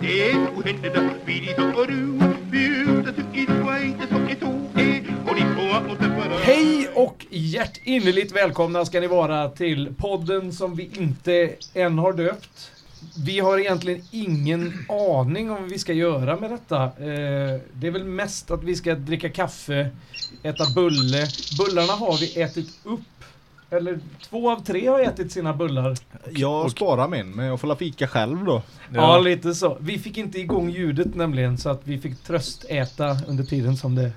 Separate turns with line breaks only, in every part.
Det hände där vid som och du Bjudas ut i Schweiz och i Tore Och din tvåa måste vara
Hej och hjärtinnerligt välkomna ska ni vara till podden som vi inte än har döpt. Vi har egentligen ingen aning om vad vi ska göra med detta. Eh, Det är väl mest att vi ska dricka kaffe, äta bulle. Bullarna har vi ätit upp. Eller två av tre har ätit sina bullar.
Jag sparar min, men jag får la fika själv då.
Ja. lite så. Vi fick inte igång ljudet nämligen så att vi fick tröstäta under tiden som det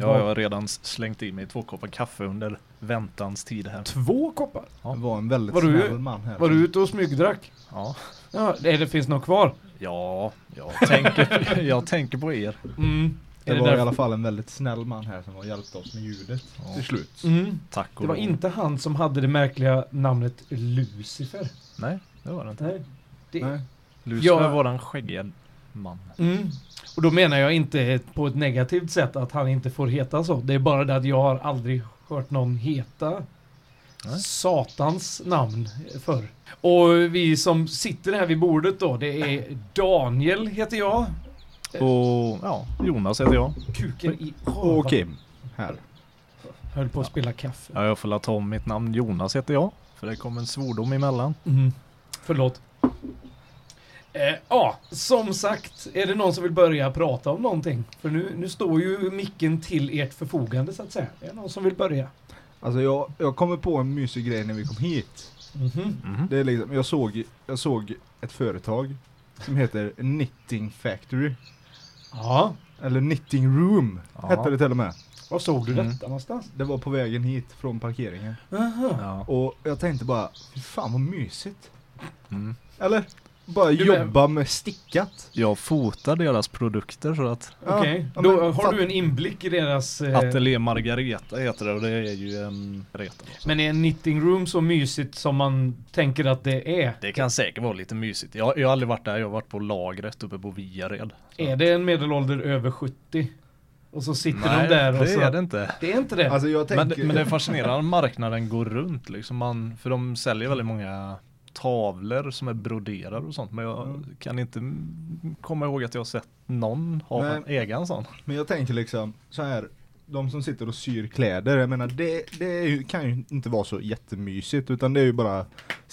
Ja, jag har redan slängt i mig två koppar kaffe under väntans tid här.
Två koppar.
Det var en väldigt
Var du-
snäll man här.
Var du ute och smygdrack?
Ja,
Ja, det, det finns något kvar.
ja jag, tänker, jag tänker på er.
Mm.
det,
Är det
var i
därför-
alla fall en väldigt snäll man här som har hjälpt oss med ljudet. Till slut.
Mm.
Tack och
Det var
lov.
inte han som hade det märkliga namnet Lucifer.
Nej, det var det inte.
Nej. Det,
Nej.
Lucifer
Ja.
var en skäggig man.
Mm. Och då menar jag inte på ett negativt sätt att han inte får heta så. Det är bara det att jag har aldrig hört någon heta
Nej.
Satans namn förr. Och vi som sitter här vid bordet då, det är Daniel heter jag.
Och ja, Jonas heter jag.
Kuken i... Oh,
Och Kim. Här.
Höll på att spela kaffe.
Ja, jag får la ta om mitt namn. Jonas heter jag. För det kom en svordom emellan.
Mm. Förlåt. Eh, Ja, som sagt, är det någon som vill börja prata om någonting? För nu, nu står ju micken till ert förfogande så att säga. Är det någon som vill börja?
Alltså jag, jag kommer på en mysig grej när vi kom hit.
Mhm.
Mhm.
Det är liksom, jag såg, jag såg ett företag som heter Knitting Factory.
Ja,
Eller Knitting Room
Ja.
hette det till och med.
var såg du
Mm.
detta någonstans?
Det var på vägen hit från parkeringen.
Aha.
Ja.
Och jag tänkte bara, fy fan vad mysigt.
Mm.
Eller? Bara
Du men-
jobba med stickat.
Jag fotar deras produkter så att
Ja,
Okej,
ja,
då
men
har
fatt-
du en inblick i deras... Eh,
Atelier Margareta heter det och det är ju en reta.
men är en knitting room så mysigt som man tänker att det är?
Det kan säkert vara lite mysigt. Jag, jag har aldrig varit där, jag har varit på lagret uppe på Viared.
Är det en medelålder över 70? Och så sitter
Nej,
de där och
det
så...
är det inte.
Det är inte det?
Alltså jag
Men,
tänker...
men det är fascinerande att marknaden går runt liksom. Man, för de säljer väldigt många tavlor som är broderade och sånt. Men jag
Mm.
kan inte mm, komma ihåg att jag har sett någon ha
Nej.
en egen sån.
Men jag tänker liksom så här. De som sitter och syr kläder, jag menar det, det är ju, kan ju inte vara så jättemysigt utan det är ju bara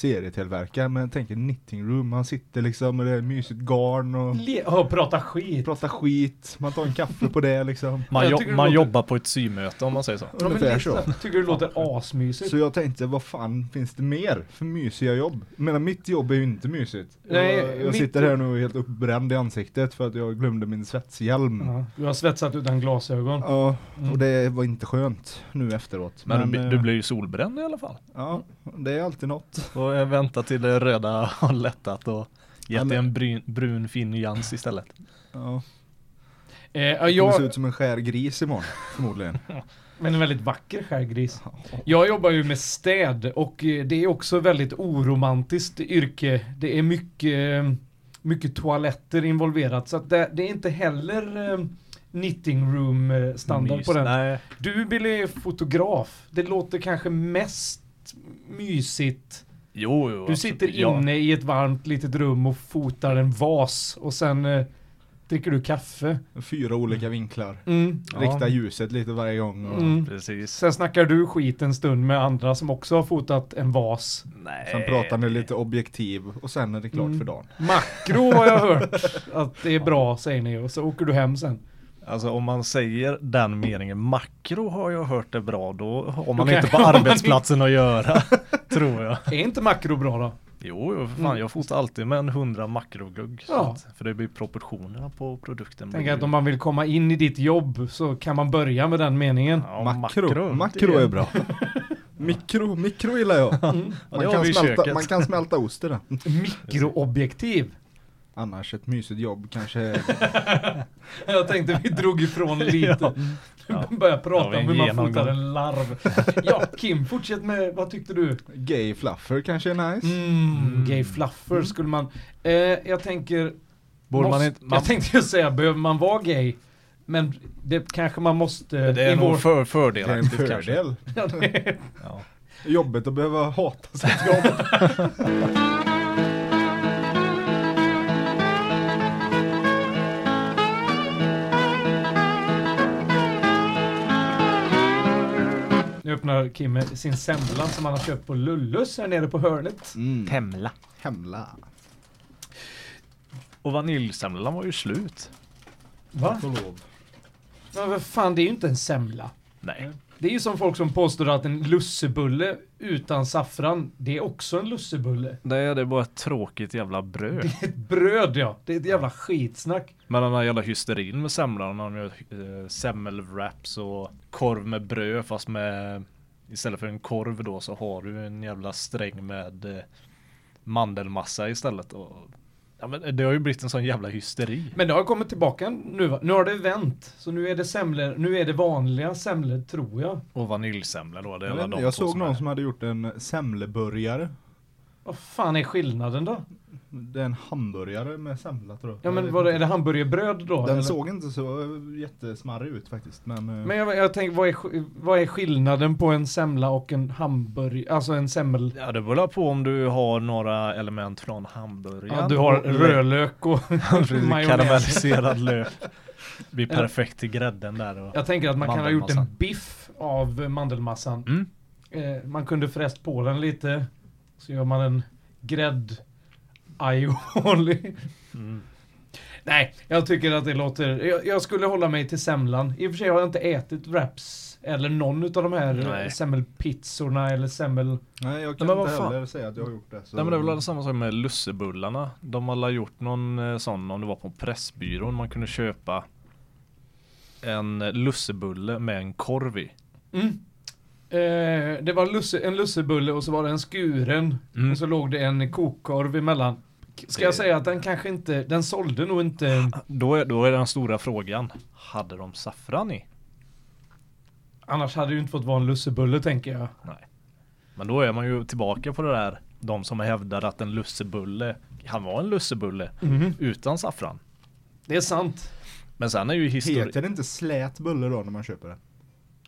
serietillverkare. Men jag tänker knitting room, man sitter liksom med det är mysigt garn och
Le- oh, prata skit.
pratar skit, man tar en kaffe på det liksom.
Man,
Jag
jo-
tycker det
man
låter-
jobbar på ett symöte om man säger så.
Ja, men
Ungefär
lite.
så.
Tycker du det låter asmysigt?
Så jag tänkte, vad fan finns det mer för mysiga jobb? Jag menar mitt jobb är ju inte mysigt.
Nej,
jag jag
mitt-
sitter här nu och är helt uppbränd i ansiktet för att jag glömde min svetshjälm.
Ja, du har svetsat utan glasögon.
Ja,
Mm.
och det var inte skönt nu efteråt.
Men, du,
eh,
bli- du blir ju solbränd i alla fall.
Ja, det är alltid något.
Och jag väntar till det röda har lättat och
Ja,
gett
men-
dig en brun, brun fin nyans istället.
Ja.
Eh, ja,
Jag...
jag
ser ut som en skär gris imorgon, förmodligen.
men en väldigt vacker skärgris. Jag jobbar ju med städ och eh, det är också väldigt oromantiskt yrke. Det är mycket, eh, mycket toaletter involverat så att det, det är inte heller eh, knitting room eh, standard
Mys.
på den.
Nej,
Du Billy är fotograf. Det låter kanske mest mysigt.
jo, jo.
Du
absolut.
sitter
Ja.
inne i ett varmt litet rum och fotar en vas och sen eh, dricker du kaffe.
Fyra olika vinklar.
Mm.
Ja.
Rikta ljuset lite varje gång. Och...
Mm.
Precis.
Sen snackar du skit en stund med andra som också har fotat en vas.
Nej.
Sen pratar ni lite objektiv och sen är det klart
Mm.
för dagen.
Makro har jag hört att det är bra säger ni och så åker du hem sen.
Alltså om man säger den meningen, makro har jag hört är bra, då har man
Okej.
inte på arbetsplatsen att göra, tror jag. Mm.
Är inte makro bra då?
Jo, jo, för fan, jag fotar alltid med en 100 makrogugg. så
Ja.
att- För det blir proportionerna på produkten.
Tänk
blir
att
ju-
om man vill komma in i ditt jobb så kan man börja med den meningen.
ja,
makro. Makro,
det
är bra. mikro, mikro gillar jag.
Ja,
Man,
det har
kan
vi i
smälta,
köket.
man kan smälta ost i den.
Mikroobjektiv.
Annars ett mysigt jobb kanske.
Jag tänkte vi drog ifrån lite.
Ja.
Börja
Ja,
prata
vi
om hur man
genomgår.
fotar en larv. Ja, Kim, fortsätt med vad tyckte du?
Gay fluffer kanske är nice.
Mm, gay fluffer skulle man... Eh, jag tänker...
Borde man
måste,
inte- man-
Jag tänkte ju säga, behöver man vara gay? Men det kanske man måste...
Det är
i vår-
nog för,
Det är
fördelar.
en fördel.
Ja, det-
Ja.
Jobbet att behöva hata sitt jobb.
öppnar Kim sin semla som han har köpt på Lullus här nere på hörnet.
Mm.
Temla.
Hemla.
Och vaniljsemlan var ju slut.
Va? Men vad fan, det är ju inte en semla.
Nej.
Det är ju som folk som påstår att en lussebulle utan saffran, det är också en lussebulle.
Det är det bara ett tråkigt jävla bröd.
Ett bröd ja, det är ett jävla skitsnack.
Men den här jävla hysterin med semlan, när de gör eh, semmelwraps och korv med bröd fast med Istället för en korv då så har du en jävla sträng med eh, mandelmassa istället. Och, ja, men det har ju blivit en sån jävla hysteri.
Men det har kommit tillbaka nu va? Nu har det vänt. Så nu är det semlor, nu är det vanliga semlor tror jag.
Och vaniljsemla då. Det är
Jag,
alla
vet inte,
de
jag
två
såg någon
är-
som hade gjort en semleburgare.
Vad fan är skillnaden då?
Det är en hamburgare med semla tror jag.
Ja
Jag
men
vet
vad är
inte.
det hamburgerbröd då? eller?
Eh, Den såg inte så eh, jättesmarrig ut faktiskt. Men, eh,
Men jag, jag tänker, vad är, sk- vad är skillnaden på en semla och en hamburg... Alltså en semmel...
Ja det beror på om du har några element från hamburgaren.
Ja, du har rödlök och majonnäs.
Karamelliserad lök. Blir
Eller-
perfekt till grädden där. Och...
Jag tänker att man kan ha gjort en
Mandelmassan.
biff av eh, mandelmassan.
Mm.
Eh, man kunde fräst på den lite. Så gör man en grädd aioli.
Mm.
Nej, jag tycker att det låter... Jag, jag skulle hålla mig till semlan. I och för sig har jag inte ätit wraps eller någon av de här
Nej.
eh, semmelpizzorna eller semmel...
nej jag kan
men vad
inte
fan.
heller säga att jag har gjort det. Så.
Nej men det är väl alla samma sak med lussebullarna. De har alla gjort någon eh, sån om det var på Pressbyrån man kunde köpa en lussebulle med en korv i.
Mm. Eh, det var lusse, en lussebulle och så var det en skuren.
Mm.
Och så låg det en kokkorv emellan. K- Ska jag
Det-
säga att den kanske inte... Den sålde nog inte...
Då är, då är den stora frågan. Hade de saffran i?
Annars hade det ju inte fått vara en lussebulle tänker jag.
Men då är man ju tillbaka på det där. De som hävdar att en lussebulle kan vara en lussebulle utan saffran.
Det är sant.
Men sen är ju historien...
Heter det inte slät bulle då när man köper det?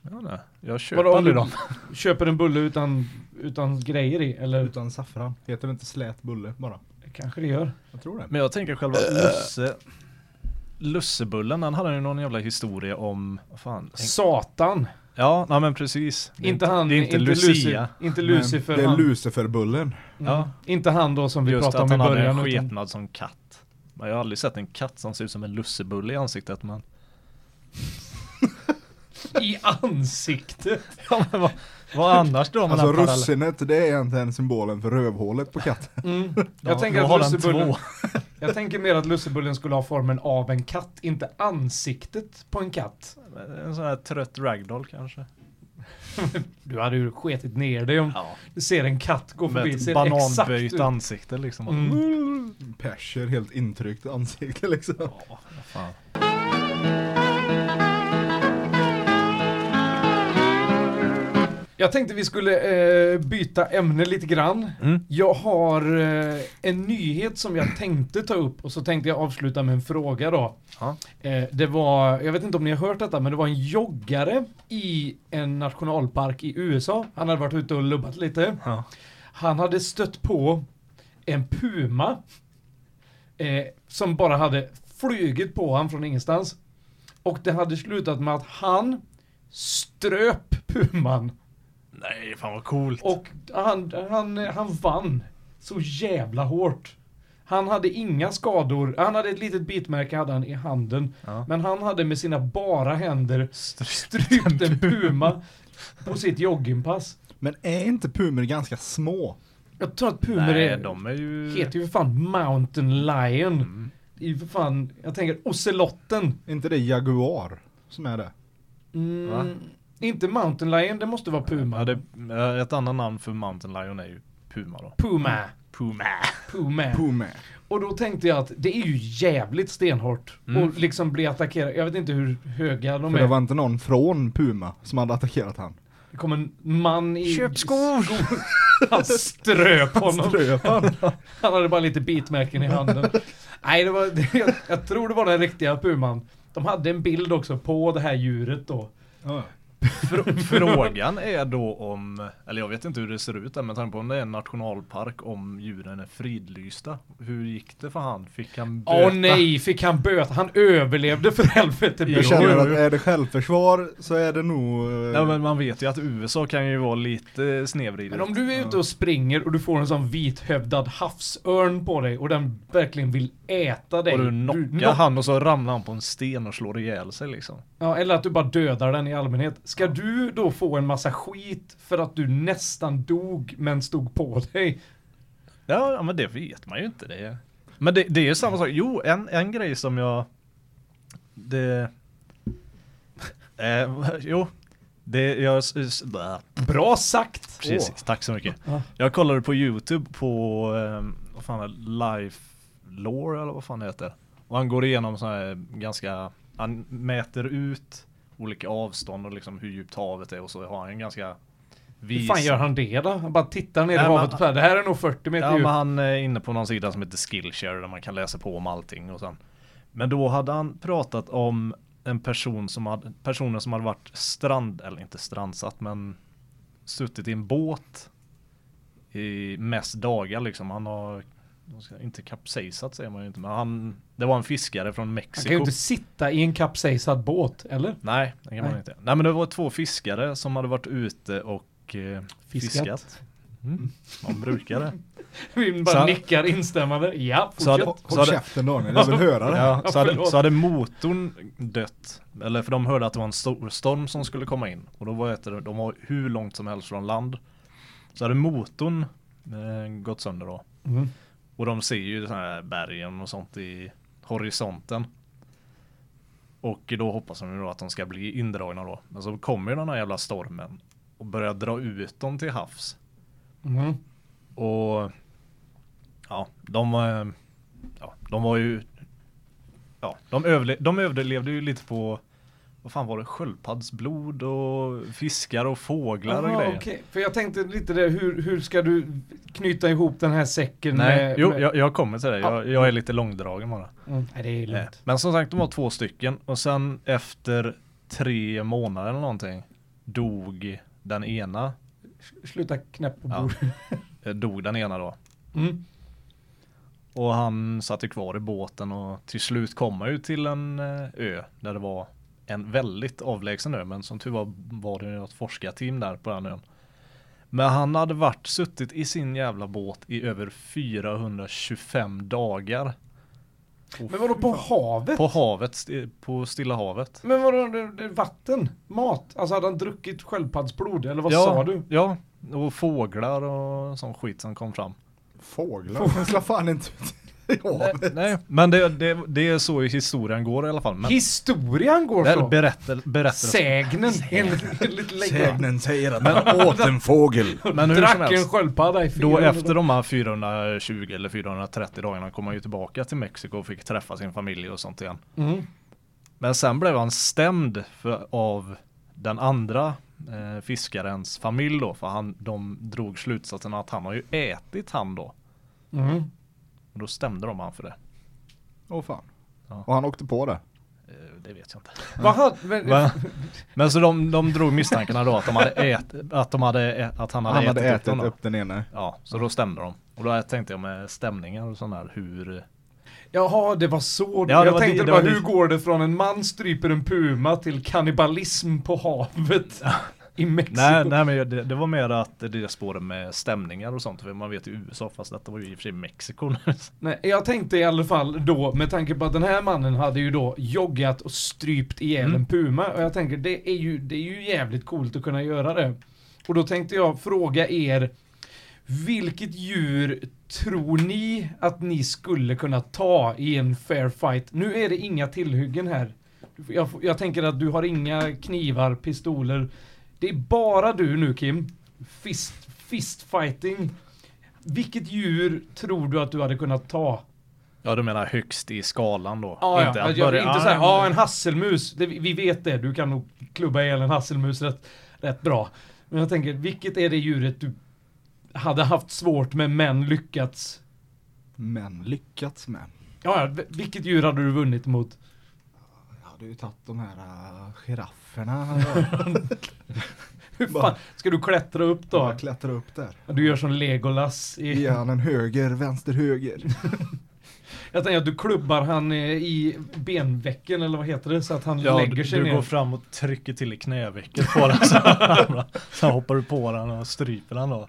Ja, nej. Jag köper
Vadå om
aldrig
du
dem.
köper en bulle utan, utan grejer i?
Mm.
Eller
Utan saffran. Heter det inte slät bulle bara?
kanske det gör.
Jag tror det.
Men jag tänker själva lusse... Lussebullen, den hade ju någon jävla historia om... Vad fan?
Satan!
Ja, nej men precis. Det är
Inte han,
det är inte, Lucia.
Lucy, Mm. inte
Men
Lucifer.
Det är
han,
luciferbullen.
ja. Inte han då som vi
Just
pratade
att
om i
han hade
början.
en
utan-
skepnad som katt. Men jag har aldrig sett en katt som ser ut som en lussebulle i ansiktet men...
I ansiktet!
Ja, men vad, vad annars då? om man
Alltså
har parallell-
russinet det är egentligen symbolen för rövhålet på katten.
Mm.
Ja,
Jag, tänker
då har
att
den
lussebullen,
två.
jag tänker mer att lussebullen skulle ha formen av en katt, inte ansiktet på en katt.
En sån här trött ragdoll kanske.
Du hade ju sketit ner dig om
Ja.
du ser en katt gå
Med
förbi.
ett
ser
bananböjt
exakt ut.
ansikte liksom.
Mm.
Perser helt intryckt ansikte liksom.
Ja, vad fan.
Jag tänkte vi skulle eh, byta ämne lite grann.
Mm.
Jag har eh, en nyhet som jag tänkte ta upp och så tänkte jag avsluta med en fråga då.
Ja.
Eh, det var, jag vet inte om ni har hört detta, men det var en joggare i en nationalpark i USA. Han hade varit ute och lubbat lite.
Ja.
Han hade stött på en puma eh, som bara hade flugit på honom från ingenstans. Och det hade slutat med att han ströp puman.
Nej, fan vad coolt.
Och han, han, han vann så jävla hårt. Han hade inga skador. Han hade ett litet bitmärke hade han i handen.
Ja.
Men han hade med sina bara händer
Strypt.
strypt en puma på sitt joggingpass.
Men är inte pumor ganska små?
Jag tror att pumor
Nej,
är,
de Mm. är ju...
heter ju för fan Mountain Lion. Det är ju för fan, jag tänker ocelotten.
Är inte det jaguar som är det?
Mm,
Va?
Inte Mountain Lion, det måste vara puma.
Ja, det, eh, ett annat namn för Mountain Lion är ju Puma då.
Puma.
Puma.
Puma.
Puma.
Och då tänkte jag att det är ju jävligt stenhårt
Mm.
och liksom bli attackerad. Jag vet inte hur höga de
För
är.
det var inte någon från Puma som hade attackerat han.
Det kom en man i...
Köp skor!
Han ströp honom.
Ströp han?
Han hade bara lite bitmärken i handen. Nej, det var, det- jag, jag tror det var den riktiga puman. De hade en bild också på det här djuret då.
Ja.
Fr- Frågan är då om, eller jag vet inte hur det ser ut där med tanke på om det är en nationalpark om djuren är fridlysta. Hur gick det för han? Fick han böta?
Åh nej, fick han böta? Han överlevde för helvete.
Jo,
Jag känner
jo,
att
jo.
är det självförsvar så är det nog... eh,
Ja, men man vet ju att USA kan ju vara lite snedvridet.
Men om du är ute och springer och du får en sån vithövdad havsörn på dig och den verkligen vill äta dig.
Och du knockar
knock-
han och så ramlar han på en sten och slår ihjäl sig liksom.
Ja, eller att du bara dödar den i allmänhet. Ska du då få en massa skit för att du nästan dog men stod på dig?
Ja, ja, men det vet man ju inte. Det. är- Men det, det är ju samma sak. Jo, en, en grej som jag... Det... Eh, jo, det jag... s- s- blah.
Bra sagt!
Precis, tack så mycket.
Ja.
Jag kollade på YouTube på, ehm, vad fan är det? Life Lore eller vad fan det heter. Och han går igenom så här ganska, han mäter ut olika avstånd och liksom hur djupt havet är och så har han en ganska
Hur
vis...
fan gör han det då? Han bara tittar ner i
Nej, men-
havet och säger det här är nog 40 meter
Ja, men
djupt.
han är inne på någon sida som heter Skillshare där man kan läsa på om allting och sen. Men då hade han pratat om en person som hade, personen som hade varit strand, eller inte strandsatt, men suttit i en båt i mest dagar liksom. Han har, vad ska jag- inte kapsejsat säger man ju inte, men han, det var en fiskare från
Han kan ju
Mexiko.
inte sitta i en kapsejsad båt, eller?
Nej, det kan man
Nej.
inte. Nej, men det var två fiskare som hade varit ute och eh, fiskat.
Fiskat.
Mm. Man brukar det.
Vi
Så
bara
han-
nickar instämmande. Ja,
Så han-
fortsätt.
Håll
Så hade-
käften Daniel, jag vill höra det här.
Ja, så, hade,
förlåt.
så hade motorn dött. Eller för de hörde att det var en stor storm som skulle komma in. Och då var ett, de var hur långt som helst från land. Så hade motorn eh, gått sönder då.
Mm.
Och de ser ju så här bergen och sånt i horisonten. Och då hoppas de ju då att de ska bli indragna då. Men så kommer ju den här jävla stormen och börjar dra ut dem till havs.
Mm.
Och ja, de, eh, ja, de var ju, ja, de, överle- de överlevde ju lite på, vad fan var det, sköldpaddsblod och fiskar och fåglar och
Jaha,
grejer.
okej. För jag tänkte lite det, hur, hur ska du knyta ihop den här säcken
Nej,
med...
jo,
med...
Jag, jag kommer till det. Jag, jag är lite långdragen bara.
Mm. Nej, det är
Eh,
lugnt.
Men som sagt, de var två stycken och sen efter tre månader eller någonting dog den ena,
Sluta knäpp på
Ja.
bordet.
eh, dog den ena då.
Mm.
Och han satt ju kvar i båten och till slut kom han ju till en eh, ö där det var en väldigt avlägsen ö men som tur var var det något forskarteam där på den ön. Men han hade varit suttit i sin jävla båt i över 425 dagar
Men vadå på havet?
på havet, st- på Stilla havet.
Men vadå, det, det är vatten? Mat? Alltså hade han druckit sköldpaddsblod? Eller vad
ja,
sa du?
Ja, och fåglar och sån skit som kom fram.
Fåglar? Men slå fan inte ut i havet.
Nej, men det, det, det är så historien går i alla fall. Men,
Historien går
eller
så.
berättel, berättelsen.
Sägnen, enligt, enligt läggan.
Sägnen säger att man åt en fågel.
Men hur som
Drack
helst.
en sköldpadda i fyra
Då
minuter.
efter de här 420 eller 430 dagarna kom han ju tillbaka till Mexiko och fick träffa sin familj och sånt igen.
Mm.
Men sen blev han stämd för, av den andra eh, fiskarens familj då, för han, de drog slutsatsen att han har ju ätit han då.
Mm.
Och då stämde de han för det.
Åh fan.
Ja.
Och han åkte på det.
Eh, det vet jag inte.
Vad hade- men,
Men, men så de, de drog misstankarna då att, de hade ät, att, de hade, ä- att han hade
Han
ätit,
hade
upp, dem
ätit
då.
upp den ene.
Ja, så då stämde de. Och då tänkte jag med stämningar och sånt där hur
Jaha, det var så.
Ja, det
jag
var
tänkte
det- det
bara,
var
hur
det.
går det från en man stryper en puma till kannibalism på havet i Mexiko?
Nej, nej men jag- det, det var mer att det spårade med stämningar och sånt. För man vet ju USA, fast detta var ju i och för sig Mexiko.
Nej, jag tänkte i alla fall då, med tanke på att den här mannen hade ju då joggat och strypt ihjäl
Mm.
en puma. Och jag tänker, det är, ju, det är ju jävligt coolt att kunna göra det. Och då tänkte jag fråga er, vilket djur tror ni att ni skulle kunna ta i en fair fight? Nu är det inga tillhyggen här. Du får- Jag, får- jag tänker att du har inga knivar, pistoler. Det är bara du nu Kim. Fist, fistfighting. Vilket djur tror du att du hade kunnat ta?
Ja, du menar högst i skalan då?
Ah, Ja, inte, ja.
att
Jag,
börja-
inte så här,
ah,
ja en hasselmus. Det, vi vet det, du kan nog klubba ihjäl en hasselmus rätt, rätt bra. Men jag tänker, vilket är det djuret du hade haft svårt med men lyckats?
Men lyckats med.
Ja, ja, v- vilket djur hade du vunnit mot?
Ja, hade ju tagit de här äh, girafferna.
Hur fan
Bara-
ska du klättra upp då?
Jag klättrar upp där.
Du gör som Legolas. I,
Ge han en höger, vänster, höger.
Jag tänker att du klubbar han eh, i benvecken eller vad heter det? Så att han
Ja,
lägger
du,
sig
du
ner.
går fram och trycker till i knävecket på den. så han ramlar. Sen hoppar du på den och stryper den då.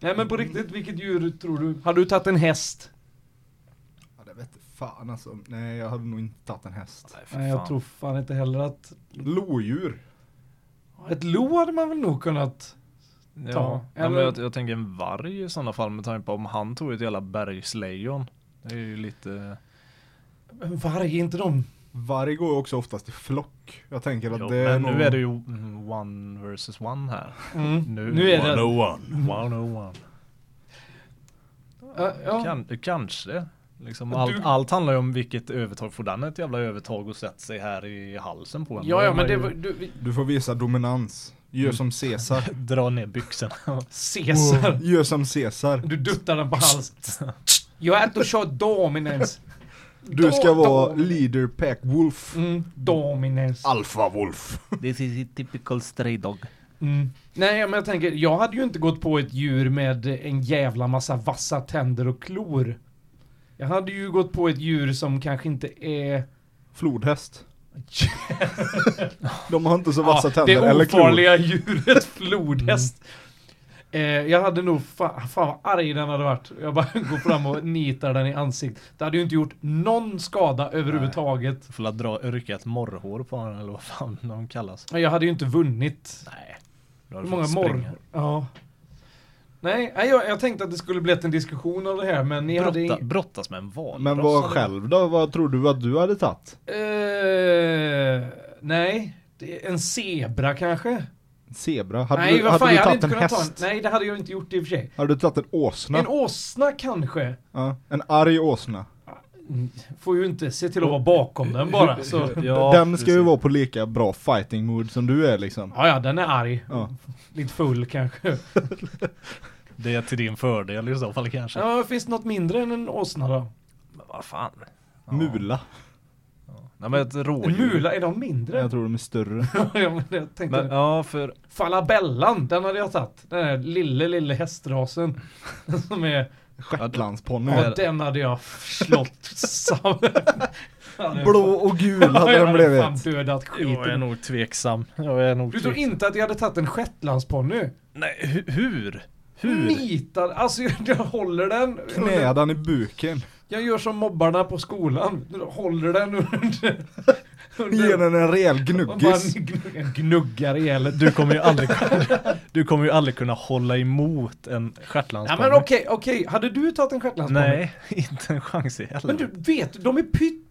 Nej men på riktigt, vilket djur tror du? Hade du tagit en häst?
Ja, det vet fan alltså. Nej, jag hade nog inte tagit en häst.
Nej jag tror fan inte heller att...
Lodjur.
Ett lo hade man väl nog kunnat... ta.
Ja, ja men
Eller-
jag, jag tänker en varg i sådana fall med tanke på om han tog ett jävla bergslejon. Det är ju lite...
En varg, inte de?
Varg går ju också oftast i flock. Jag tänker att
Jo,
det är
men
nog...
nu är det ju mm, one versus one här. Nu,
Mm. Nu är det...
101. 101.
Ja, ja.
Kan, kanske. Liksom
Du-
allt, allt handlar ju om vilket övertag. Får den ett jävla övertag och sätter sig här i halsen på en.
ja,
då
ja
är
men
man
det
ju-
var... Du,
Du får visa dominans.
Mm.
Gör som Caesar.
Dra ner byxorna.
Caesar.
Gör som Caesar.
Du duttar den på halsen. Jag äter och kör dominens.
Du ska
Dom-
vara
dom-
leader pack wolf.
Mm, dominens.
Alfa wolf.
This is a typical stray dog.
Mm. Nej men jag tänker, jag hade ju inte gått på ett djur med en jävla massa vassa tänder och klor. Jag hade ju gått på ett djur som kanske inte är...
Flodhäst. De har inte så vassa
Ja,
tänder
det
eller klor.
ofarliga djuret flodhäst. Mm. Eh, jag hade nog, fa fan vad arg den hade varit. Jag bara går fram och nitar den i ansiktet. Det hade ju inte gjort någon skada överhuvudtaget.
Får la dra, rycka ett morrhår på honom eller vad fan de kallas.
Men Jag hade ju inte vunnit.
Nej.
Hur många morr... Ja. Nej, nej, jag, jag tänkte att det skulle blivit en diskussion av det här men ni hade
Brotta,
ing-
brottas med en val.
Men vad själv då? Vad tror du att du hade tagit?
eh, Nej, det är en zebra kanske?
En Zebra? Hade
nej,
du,
vad
hade
fan,
du
jag hade
tagit
inte
en
kunnat ta
häst?
en... Nej, det hade jag inte gjort i och för sig.
Hade du tagit en åsna?
En åsna kanske?
ja. en arg åsna.
Får ju inte se till att vara bakom den bara. Så.
Ja,
Den ska ju
precis.
vara på lika bra fighting mood som du är liksom.
Ja, ja, den är arg.
Ja.
Lite full kanske.
Det är till din fördel i så fall kanske.
Ja, finns det något mindre än en åsna då?
Men vad fan.
Mula.
Nej men ett
En
rådjur.
mula, är de mindre?
Jag tror de är större.
ja, men jag tänkte
Men, ja för
Falabellan, den hade jag tagit. Den här lille, lille hästrasen. Som är...
Shetlandsponny.
Ja, den hade jag slått samman.
Blå och gul hade den
fan
blivit.
dödat
jag är
skiten.
nog tveksam. Jag är nog
Du tror
tveksam.
inte att jag hade tagit en shetlandsponny?
Nej hu- hur? Hur?
Nitad. Alltså jag, jag håller den.
Knä den i buken.
Jag gör som mobbarna på skolan. Jag håller den under...
Ge den en rejäl
och bara
gnuggis.
gnuggar- gnuggar ihjäl ett
Du kommer ju aldrig kunna, du kommer ju aldrig kunna hålla emot en
Ja
shetlandsponny.
men okej, okej. Hade du tagit en shetlandsponny?
Nej, inte en chans i
Men
helvete.
du vet, de är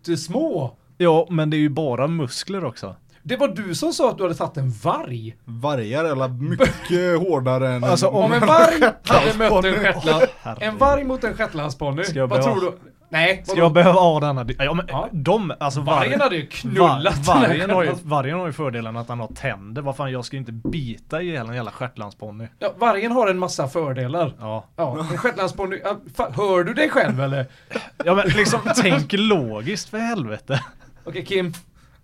pyttesmå.
Ja, men det är ju bara muskler också.
Det var du som sa att du hade tagit en varg.
Vargar eller mycket hårdare än
Alltså, om
Om en varg hade mött en shetland... En varg mot en shetlandsponny.
Ska jag
Vad
behöva-
tror du? Nej,
Ska jag behöva ha den här? Ja, men
Ja.
de, alltså
vargen hade ju knullat
var,
den här
vargen, har ju,
shetlands-
vargen har ju fördelen att han har tänder. Vad fan, jag ska ju inte bita ihjäl en jävla shetlandsponny.
ja, vargen har en massa fördelar.
Ja.
Ja, en shetlandsponny... Ja, fan, hör du dig själv eller?
ja, men liksom tänk logiskt för helvete.
Okej Kim.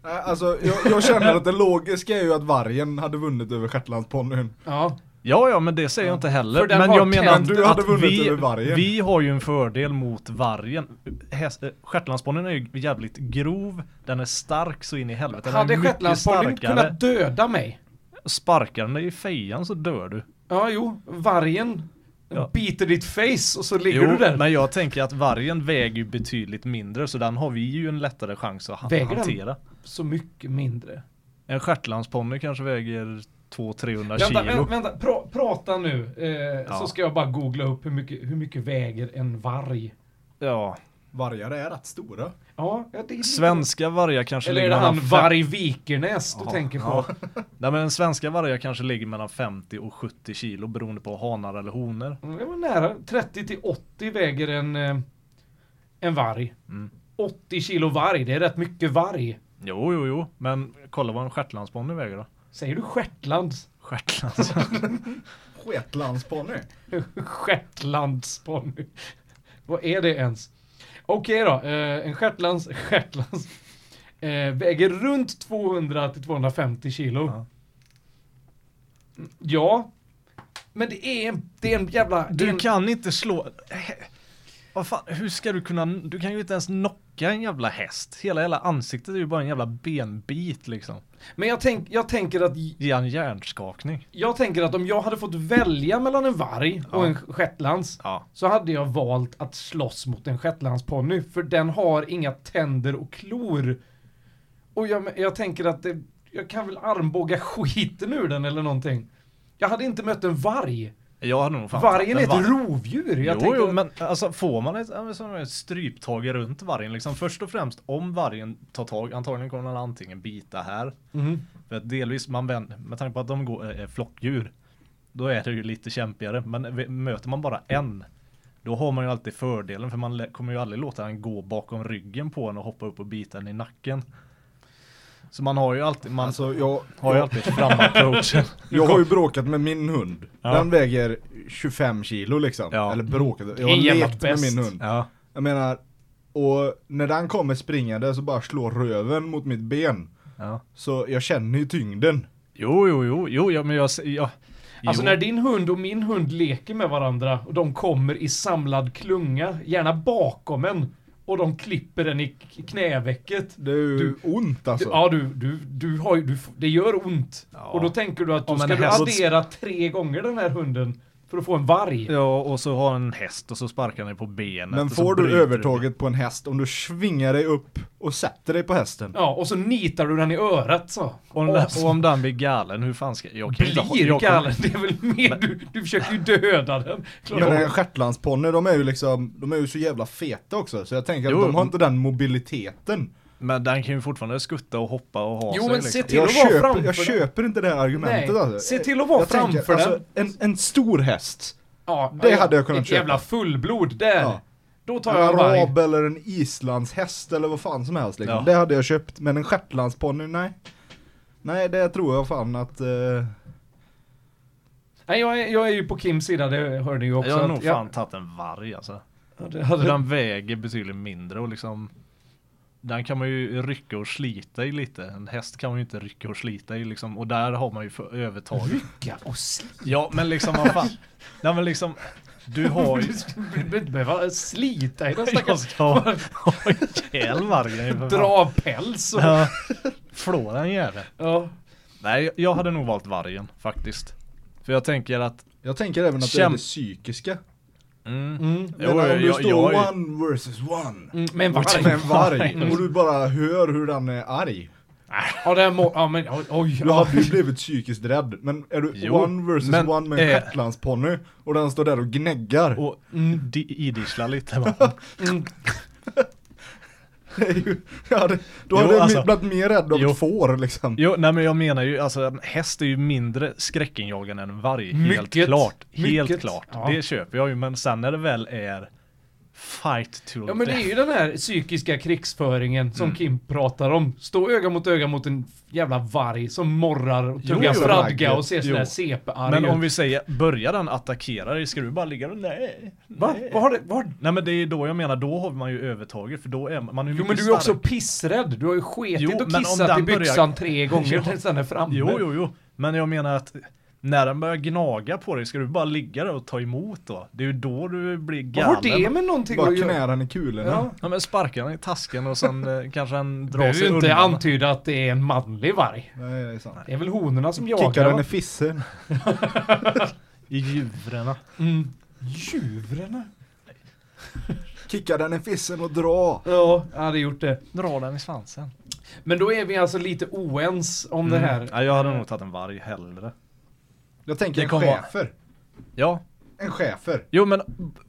Nej, Alltså jag, jag känner att det logiska är ju att vargen hade vunnit över shetlandsponnyn.
Ja.
Ja, ja, men det säger jag inte heller.
För den
Men
har
jag menar
tänder.
att,
Du hade vunnit
vi,
över vargen.
vi har ju en fördel mot vargen. Häst- eh, Shetlandsponnyn är ju jävligt grov. Den är stark så in i helvete. Den
Hade
är mycket
shetlandsponnyn
starkare.
kunnat döda mig?
Sparkar den dig i fejan så dör du.
Ja, jo. Vargen
Ja.
biter ditt face och så ligger
Jo,
du där.
men jag tänker att vargen väger ju betydligt mindre så den har vi ju en lättare chans att han-
Väger den?
hantera.
Så mycket mindre.
En shetlandsponny kanske väger 200-300 kilo.
Vänta, vänta, vänta. Pra, prata nu. Eh, Så
Ja.
ska jag bara googla upp hur mycket, hur mycket väger en varg.
Ja.
Vargar är rätt stora.
Ja, ja, det är lite-
Svenska vargar kanske
Eller är det
ligger
han
mellan
Varg Vikernäs du tänker på?
Nej men svenska vargar kanske ligger mellan 50 och 70 kilo beroende på hanar eller honor.
Mm, Det var nära. 30 till 80 väger en, eh, en varg.
Mm.
80 kilo varg, det är rätt mycket varg.
Jo, jo, jo, men kolla vad en shetlandsponny väger då.
Säger du Shetlands?
Shetlands.
Shetlandsponny?
Shetlandsponny. Vad är det ens? Okej då, eh, en shetlands, shetlands, Eh, väger runt 200 till 250 kilo.
Ja.
Mm, Ja. Men det är en, det är en jävla... det är
Du
en,
kan inte slå... Vad fan, hur ska du kunna... Du kan ju inte ens knocka en jävla häst. Hela jävla ansiktet är ju bara en jävla benbit liksom.
Men jag, tänk, jag tänker att
Ge han hjärnskakning.
Jag tänker att om jag hade fått välja mellan en varg och
Ja.
en shetlands
Ja.
så hade jag valt att slåss mot en shetlandsponny för den har inga tänder och klor. Och jag, jag tänker att det, jag kan väl armbåga skiten ur den eller någonting. Jag hade inte mött en varg.
Jag hade nog fan
Vargen är
tagit
ett
en varg.
rovdjur. Jag
Jo,
tänker
jo,
att-
men alltså får man ett, ja, men som ett stryptag runt vargen liksom. Först och främst om vargen tar tag, antagligen kommer den antingen bita här.
Mhm.
För att delvis, man vänder, med tanke på att de går, eh, är flockdjur. Då är det ju lite kämpigare. Men v- möter man bara en. Då har man ju alltid fördelen för man lä- kommer ju aldrig låta den gå bakom ryggen på en och hoppa upp och bita den i nacken. Så man har ju alltid, man
Alltså jag,
har ju alltid framapproachen.
jag har ju bråkat med min hund.
Ja.
Den väger 25 kilo liksom.
Ja.
Eller bråkat, jag
är en
har
jävla
lekt med
bäst.
min hund.
Ja.
Jag menar, och när den kommer springande så bara slår röven mot mitt ben.
ja.
Så jag känner ju tyngden.
Jo, jo, jo, jo, ja, men jag, s- ja.
Alltså
Jo.
när din hund och min hund leker med varandra och de kommer i samlad klunga, gärna bakom en, och de klipper den i k- knävecket.
Det är ju
Du-
ont alltså.
Ja, du, du, du har ju, du, f- det gör ont.
Ja.
Och då tänker du att då
Om en
ska du
häst-
addera tre gånger den här hunden för att få en varg.
Ja, och så har en häst och så sparkar den på benet.
Men
och så
får du
bryter
övertaget på en häst om du svingar dig upp och sätter dig på hästen?
Ja, och så nitar du den i örat så.
Och, om den- och om den blir galen, hur fan ska jag? Jag kan inte ha-
Blir
jag kommer-
galen, det är väl mer du, du försöker ju döda den. Klart.
Men en shetlandsponny, de är ju liksom, de är ju så jävla feta också. Så jag tänker att
Jo.
de har inte den mobiliteten.
Men den kan ju fortfarande skutta och hoppa och ha
Jo,
sig. liksom.
men se till
Jag,
att vara
köper,
framför
jag
den.
köper inte det här argumentet
Nej,
alltså.
se till att vara
jag tänker,
framför
alltså,
den.
En, en stor häst.
ja,
det hade jag kunnat
Ett jävla fullblod där.
Ja.
Då tar
En
jag en varg.
arab eller en islandshäst eller vad fan som helst liksom.
Ja.
Det hade jag köpt, men en shetlandsponny, nej. Nej, det tror jag fan att... eh,
Nej, jag är, jag är ju på Kims sida, det hörde ni ju också.
Jag har
att
nog
jag-
fan tagit en varg alltså.
Ja, det hade-
För den väger betydligt mindre och liksom den kan man ju rycka och slita i lite. En häst kan man ju inte rycka och slita i liksom. Och där har man ju för övertaget.
Rycka och slita.
Ja men liksom vad fan. Nej men liksom. Du har ju.
Du behöver inte behöva slita i den
Jag
stackars...
ska ha ha ihjäl vargen. ju, för fan.
Dra av päls och...
Ja. Flå den jäveln.
Ja.
Nej, jag hade nog valt vargen faktiskt. För jag tänker att...
Jag tänker även att det är
Käm-
det psykiska.
Mm,
Mm.
Jo,
Medan om du
jag-
står
jag är-
one versus one.
Mm, men
Med en
varg.
varg. Och du bara hör hur den är arg.
Ja, det må, ja men oj, oj.
Du
Ja.
hade ju blivit psykiskt rädd. Men är du
Jo,
one versus
men,
one med en
eh,
shetlandsponny och den står där och gnäggar.
och mm. idisslar lite. va.
Mm.
Det är ju- ja, det- då
Jo,
hade jag
alltså.
blivit mer rädd av
Jo.
ett får liksom.
Jo, nej men jag menar ju, alltså en häst är ju mindre skräckinjagande än en varg. Helt
Mycket.
klart. Helt
Mycket.
klart.
Ja.
Det köper jag ju, men sen när det väl är fight to
ja men det är ju den här psykiska krigsföringen
Mm.
som Kim pratar om. Stå öga mot öga mot en jävla varg som morrar och
Jo,
tuggar
jo,
fradga
Ragge.
och ser sådär
Jo.
CP-arg
men
ut.
om vi säger, börjar den attackera dig, ska du bara ligga där? Nej.
Va? Vad har det... Vad har...
Nej men det är ju då jag menar, då har man ju övertaget för då är man, man är ju
Jo men
mycket
du är också
starkare.
pissrädd. Du har ju skitit
Jo,
och
men om
kissat
den
i byxan
börjar-
tre gånger tills den är framme.
Jo, jo, jo. Men jag menar att när den börjar gnaga på dig, ska du bara ligga där och ta emot då? Det är ju då du blir
Vad
galen.
har det med någonting
Bara
att göra?
knä den i kulorna.
Ja.
Ja men sparka den i tasken och sen eh, kanske den drar
Behöver
sig
ju inte
undan.
antyda att det är en manlig varg.
Nej, det är sant.
Det är väl honorna som
Kickar
jagar?
den
va?
i fissen.
I djuren.
Mm. Djuren?
Kickar den i fissen och dra.
Ja, jag hade gjort det.
Dra den i svansen.
Men då är vi alltså lite oens om det här.
Mm. Ja, jag hade nog tagit en varg hellre.
Jag tänker
Det
en
kommer vara-
schäfer.
Ja.
En schäfer.
Jo men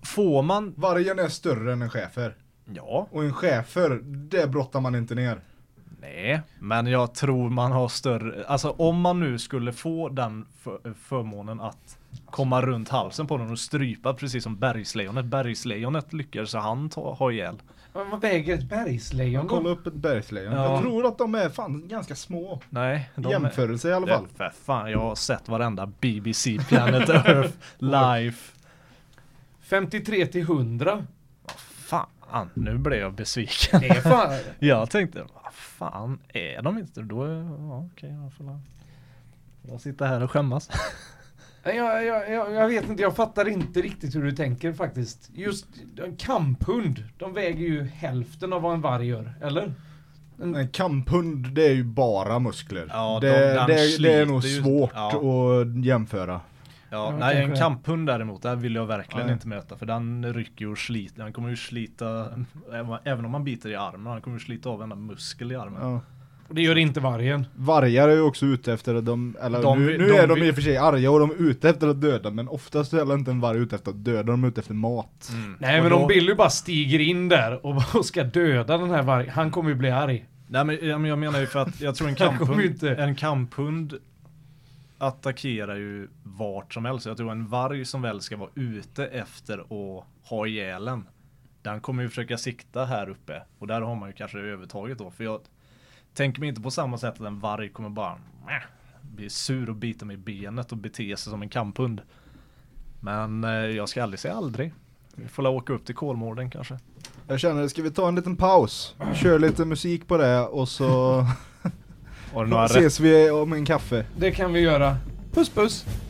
får man?
Vargen är större än en schäfer.
Ja.
Och en schäfer, det brottar man inte ner.
Nej. Men jag tror man har större, alltså om man nu skulle få den för, förmånen att komma runt halsen på den och strypa precis som bergslejonet. Bergslejonet lyckades han ta, ha ihjäl.
Men vad väger ett bergslejon
Kolla
då?
upp ett bergslejon.
Ja.
Jag tror att de är fan ganska små.
Nej.
I jämförelse i alla fall.
För fan, jag har sett varenda BBC Planet Earth Life.
53 till 100.
Fan. fan, nu blev jag besviken.
Det är fan...
Jag tänkte, vad fan är de inte? Då, är- ja okej, jag får la- får la sitta här och skämmas.
Nej, Jag, jag, jag, jag vet inte, jag fattar inte riktigt hur du tänker faktiskt. Just en kamphund, de väger ju hälften av vad en varg gör, eller?
En kamphund det är ju bara muskler.
Ja, de-
det,
den
det, det är
sliter
nog
ju-
svårt
ja.
att jämföra.
Ja,
Ja,
nej, en
kanske.
kamphund däremot, där vill jag verkligen
Nej.
inte möta. För den rycker ju och sliter, den kommer ju slita, även om man biter i armen, han kommer ju slita av enda muskel i armen.
Ja.
Och det gör inte vargen.
Vargar är ju också ute efter att de, eller
De
nu,
vill-
nu
de
är de
vill-
i och för sig arga och de är ute efter att döda men oftast är väl inte en varg ute efter att döda, de är ute efter mat.
Nej
Och
men
då-
om Billy bara stiger in där och bara ska döda den här vargen, han kommer ju bli arg.
Nej men ja, men jag menar ju för att jag tror en
Han kommer ju
kamphund,
inte-
en kamphund attackerar ju vart som helst. Jag tror en varg som väl ska vara ute efter att ha ihjäl en, den kommer ju försöka sikta här uppe. Och där har man ju kanske övertaget då. För jag tänker mig inte på samma sätt att en varg kommer bara "Mäh", bli sur och bita mig i benet och bete sig som en kamphund. Men eh, jag ska aldrig säga aldrig. Vi får la åka upp till Kolmården kanske.
Jag känner, ska vi ta en liten paus? Kör lite musik på det och så
Har du några
ses vi om en kaffe.
Det kan vi göra. Puss puss!